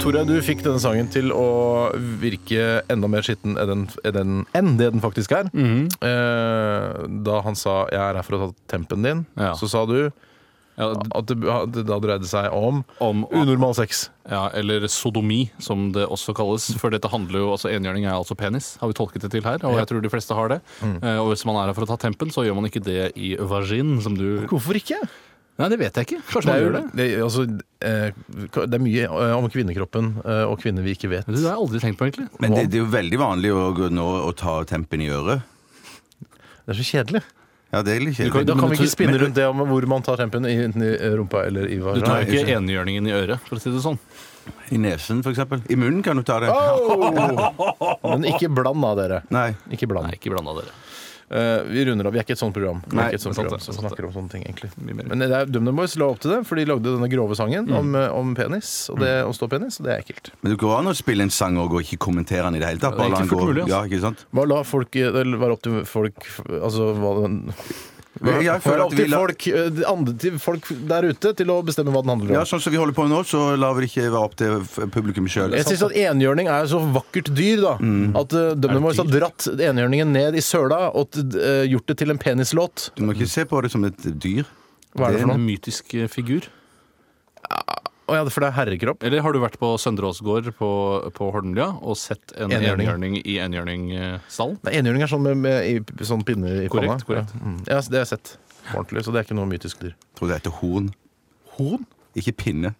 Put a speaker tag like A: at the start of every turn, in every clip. A: Tore, du fikk denne sangen til å virke enda mer skitten enn, den, enn den- enn det den faktisk er.
B: Mhm.
A: Eh, Da han sa 'jeg er her for å ta tempen din',
B: Ja.
A: så sa du
B: Ja, d-
A: at det, at det da dreide seg om
B: om,
A: unormal sex.
B: ja, eller sodomi, som det også kalles. For dette handler jo, altså Enhjørning er altså penis, har vi tolket det til her. Og jeg tror de fleste har det. Eh, Og hvis man er her for å ta tempen, så gjør man ikke det i vagin, som du
A: Hvorfor ikke?
B: Nei, det vet jeg ikke.
A: Det
B: Kanskje man
A: er,
B: gjør
A: jo,
B: det?
A: det, er- altså, eh, det er mye eh, om kvinnekroppen eh, og kvinner vi ikke vet.
B: Det har jeg aldri tenkt på, egentlig.
C: Men det, det er jo veldig vanlig å gå nå og ta tempen i øret.
A: Det er så kjedelig.
C: Ja, det er litt
B: Du kan-
C: kjedelig.
A: Da kan
B: men
A: vi ikke
B: du-
A: spinne
B: men-
A: rundt det om hvor man tar tempen, i- enten i rumpa eller i
B: Du tar jo
A: vagina.
B: ikke enhjørningen i øret, for å si det sånn.
C: I nesen, for eksempel. I munnen kan du ta
A: Ah!
C: det.
A: Men ikke bland da, dere.
C: Nei.
A: Ikke bland.
B: Nei, ikke blanda dere.
A: Eh, vi runder av. Vi er ikke et sånt program. Vi er
C: Nei,
A: ikke et sånt
B: det er
A: program
B: sant det,
A: som
B: det er sant
A: snakker om sånne ting, egentlig.
B: Mye mer.
A: Men det er DumDum Boys la opp til det, for de lagde denne grove sangen om, eh, om penis, og det å stå penis, og det er ekkelt.
C: Men det går an å spille en sang og ikke kommentere den i det hele
B: Ja, det er
C: tatt. Bare la den
B: egentlig
C: gå.
B: fullt mulig, altså.
C: Ja, ikke sant?
A: Hva la folk eh, eller Være opp til folk Altså hva den
C: Jeg, jeg
A: Være
C: føler
A: opp
C: at vi
A: til
C: la...
A: folk, eh, de andre, til folk der ute til å bestemme hva den handler om.
C: Ja, sånn som vi holder på nå, så lar vi det ikke være opp til f- publikum sjøl.
A: Jeg synes at Enhjørning er så vakkert dyr, da. At uh, Dumdum Boys har dratt enhjørningen ned i søla og t- eh, gjort det til en penislåt.
C: Du må ikke se på det som et dyr.
A: Hva er det for
B: En
A: noe?
B: mytisk eh, figur.
A: Å ja, for det er herrekropp.
B: Eller har du vært på Søndre Ås gård på, på Holmlia og sett en
A: Enhjørning.
B: enhjørning i enhjørningstall?
A: Nei, Enhjørning er sånn med, med i, sånn pinne i panna.
B: Korrekt, korrekt.
A: Ja, mm. ja, så det har jeg sett på ordentlig, så det er ikke noe mytisk dyr.
C: Jeg tror det heter horn.
A: Horn? Sånn
C: Ikke pinne.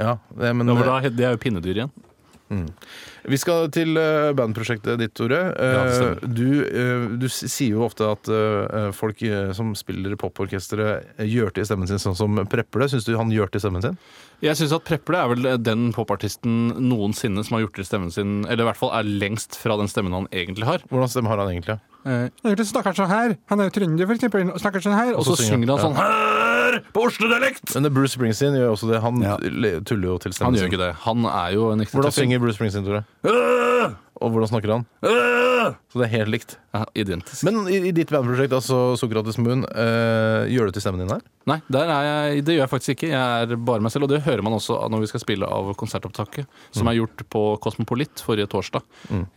A: Ja, det, men eh,
B: Ja, for da, det er jo pinnedyr igjen.
A: Vi skal til eh, bandprosjektet ditt, Tore. Eh,
B: Ja, det stemmer.
A: du, eh, du s- sier jo ofte at eh, folk eh, som spiller i poporkesteret, eh, gjør til stemmen sin sånn som prepper det. Syns du han gjør til stemmen sin?
B: Jeg syns at Preple er vel den popartisten noensinne som har gjort til stemmen sin Eller i hvert fall er lengst fra den stemmen han egentlig har.
A: Hvordan stemme har han egentlig?
B: Egentlig snakker han sånn her. Han er jo trønder, for eksempel. Og snakker sånn her. Og så synger han sånn her på Oslo-dialekt!
A: Men det Bruce Springsteen gjør jo også det. Han
C: Ja.
A: le- tuller jo til stemmen
B: Han gjør ikke det. Han er jo en ekte
A: Hvordan synger Bruce Springsteen, Tore?
B: Øh!
A: Og hvordan snakker han?
B: Øh!
A: Så det er helt likt.
B: Ja, Identisk.
A: Men i, i ditt bandprosjekt, altså Sokrates Moon, eh, gjør du til stemmen din her?
B: Nei, der er jeg, det gjør jeg faktisk ikke. Jeg er bare meg selv. Og det hører man også når vi skal spille av konsertopptaket, som er gjort på Kosmopolit forrige torsdag.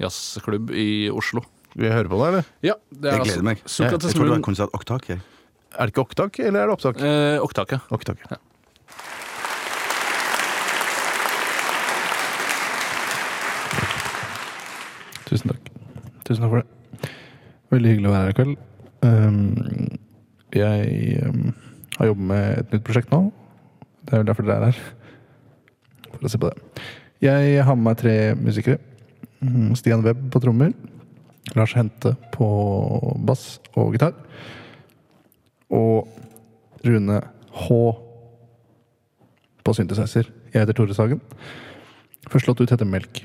B: Jazzklubb i Oslo.
A: Vil jeg høre på deg, eller?
B: Mm. Ja, det altså
C: Jeg gleder meg. Jeg
B: Sokrates
C: tror det var
B: Moon.
C: konsert Oktak. jeg.
A: Er det ikke opptak, eller er det opptak?
B: Eh, opptaket.
A: Opptak.
B: Ja.
D: Tusen takk. Tusen takk for det. Veldig hyggelig å være her i kveld. Ehm, jeg ehm, har jobbet med et nytt prosjekt nå. Det er vel derfor dere er her. For å se på det. Jeg har med meg tre musikere. Mm, Stian Webb på trommer. Lars Hente på bass og gitar. Og Rune H på synthesizer. Jeg heter Tore Sagen. Første låt ut heter 'Melk'.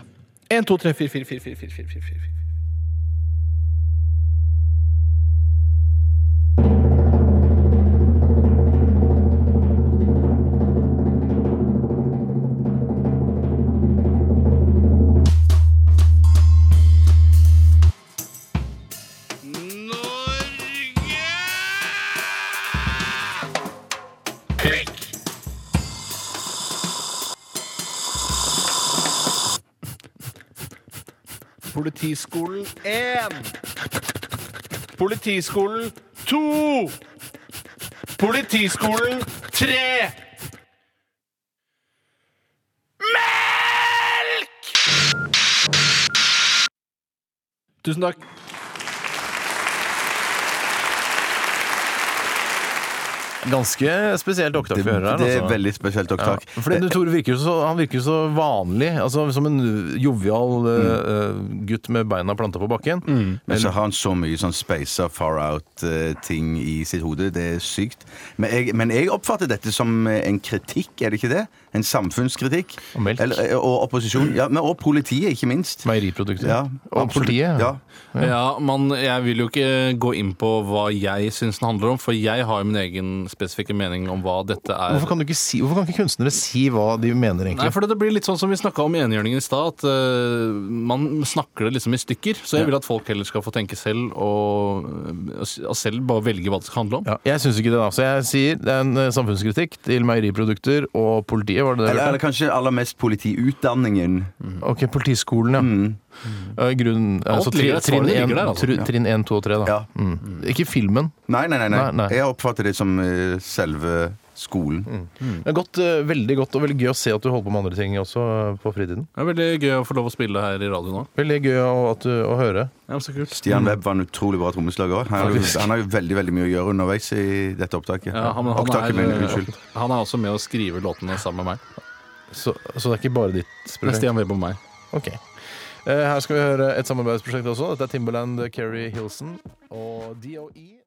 D: 1, 2, 3, 4, 4, 4, 4, 4, 4, 4, 4.
E: Politiskolen 1. Politiskolen 2. Politiskolen 3.
D: Tusen takk.
A: Ganske spesielt opptak
C: Det,
A: vi hører her.
C: det er
A: altså.
C: veldig spesielt Oktak.
A: Ja, fordi du, Tore virker jo så, han virker jo så vanlig, altså som en jovial eh, gutt med beina planta på bakken.
C: Men så har han så mye sånn spacer, far out-ting i sitt hode. Det er sykt. Men jeg, men jeg oppfatter dette som eh, en kritikk, er det ikke det? En samfunnskritikk.
A: Og melk.
C: Eller, eh, og opposisjon. Ja, men, og politiet, ikke minst.
A: Meieriprodukter.
C: Ja,
A: og
C: absolutt.
A: politiet.
C: Ja.
B: Ja, men jeg vil jo ikke gå inn på hva jeg syns den handler om, for jeg har jo min egen spesifikke mening om hva dette er.
A: Hvorfor kan, du ikke si, hvorfor kan ikke kunstnere si hva de mener,
B: Nei,
A: egentlig?
B: for det blir litt sånn som vi snakka om i enhjørningen i stad, at eh, man snakker det liksom i stykker. Så jeg vil at folk heller skal få tenke selv, og, og s- og selv bare velge hva det skal handle om.
A: Ja, jeg syns ikke det, da. Så jeg sier det er en eh, samfunnskritikk til meieriprodukter og politi. politiet, var det det? du
C: Eller,
A: hørte?
C: eller kanskje aller mest politiutdanningen. Mm.
A: Ok, politiskolen, ja. Eh, Grunn,
B: Alt
A: altså,
B: ligger der,
A: trinn
B: svarene
A: én
B: ligger der, altså.
A: tru- trinn én, to og tre, da.
C: Ja.
A: Mm. Ikke filmen.
C: Nei, nei, nei. nei.
A: Nei, Mm. nei.
C: Jeg oppfatter det som eh, selve skolen.
B: Mm.
A: Det er godt, eh, veldig godt og veldig gøy å se at du holder på med andre ting også eh, på fritiden.
B: Det er veldig gøy å få lov å spille her i radio nå.
A: Veldig gøy å, at du, å høre.
B: Ja, men så kult.
C: Stian Webb var en utrolig bra trommeslager òg. Han, har jo- han har jo veldig veldig mye å gjøre underveis i dette opptaket.
B: Ja, han, han,
C: Opptaket,
B: er,
C: mener jeg, unnskyld.
B: eh, han er også med å skrive låtene sammen med meg.
A: Så, så det er ikke bare ditt
B: Men
A: prosjekt.
B: Stian Webb og meg.
A: Ok. Eh, Her skal vi høre et samarbeidsprosjekt også. Dette er Timberland, Keri Hilson og E. DOE.